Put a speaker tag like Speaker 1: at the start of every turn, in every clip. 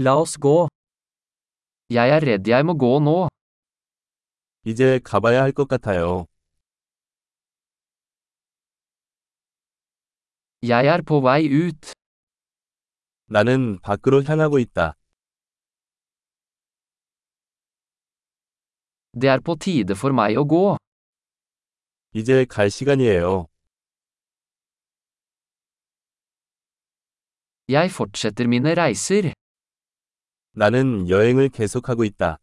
Speaker 1: La oss gå. Jeg er redd jeg må gå nå.
Speaker 2: 이제 가봐야 할 것 같아요.
Speaker 1: Jeg er på vei ut.
Speaker 2: 나는 밖으로 향하고 있다.
Speaker 1: Det er på tide for meg å gå.
Speaker 2: 이제 갈 시간이에요.
Speaker 1: Jeg fortsetter mine reiser.
Speaker 2: 나는 여행을 계속하고 있다.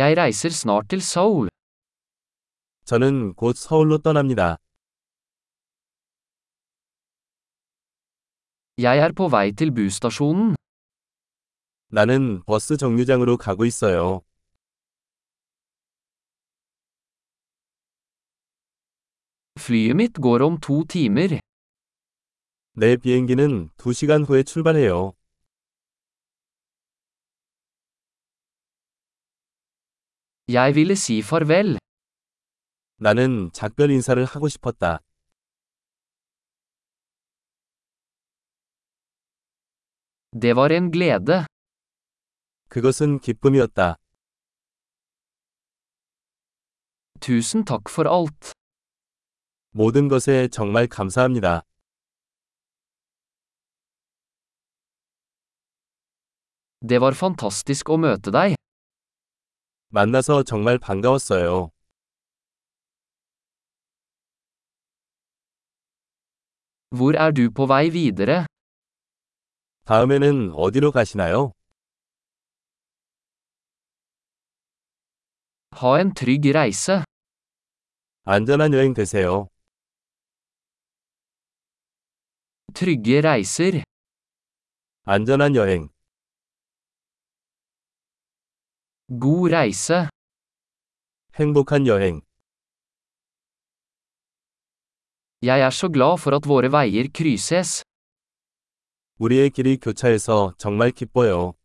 Speaker 1: Jeg reiser snart til Seoul.
Speaker 2: 저는 곧 서울로 떠납니다.
Speaker 1: Jeg er på vei til busstasjonen.
Speaker 2: 나는 버스 정류장으로 가고 있어요.
Speaker 1: Flyet mitt går om to timer.
Speaker 2: 내 비행기는 2시간 후에 출발해요.
Speaker 1: Jeg ville si farvel.
Speaker 2: 나는 작별 인사를 하고 싶었다.
Speaker 1: Det var en glede.
Speaker 2: 그것은 기쁨이었다.
Speaker 1: Tusen takk for alt.
Speaker 2: 모든 것에 정말 감사합니다.
Speaker 1: Det var fantastisk å møte deg.
Speaker 2: 만나서 정말 반가웠어요.
Speaker 1: Hvor er du på vei videre?
Speaker 2: 다음에는 어디로 가시나요?
Speaker 1: Ha en trygg reise.
Speaker 2: 안전한 여행 되세요.
Speaker 1: Trygge reiser.
Speaker 2: 안전한 여행.
Speaker 1: God reise.
Speaker 2: 행복한 여행.
Speaker 1: Jeg er så glad for at våre veier krysses.
Speaker 2: 우리의 길이 교차해서 정말 기뻐요.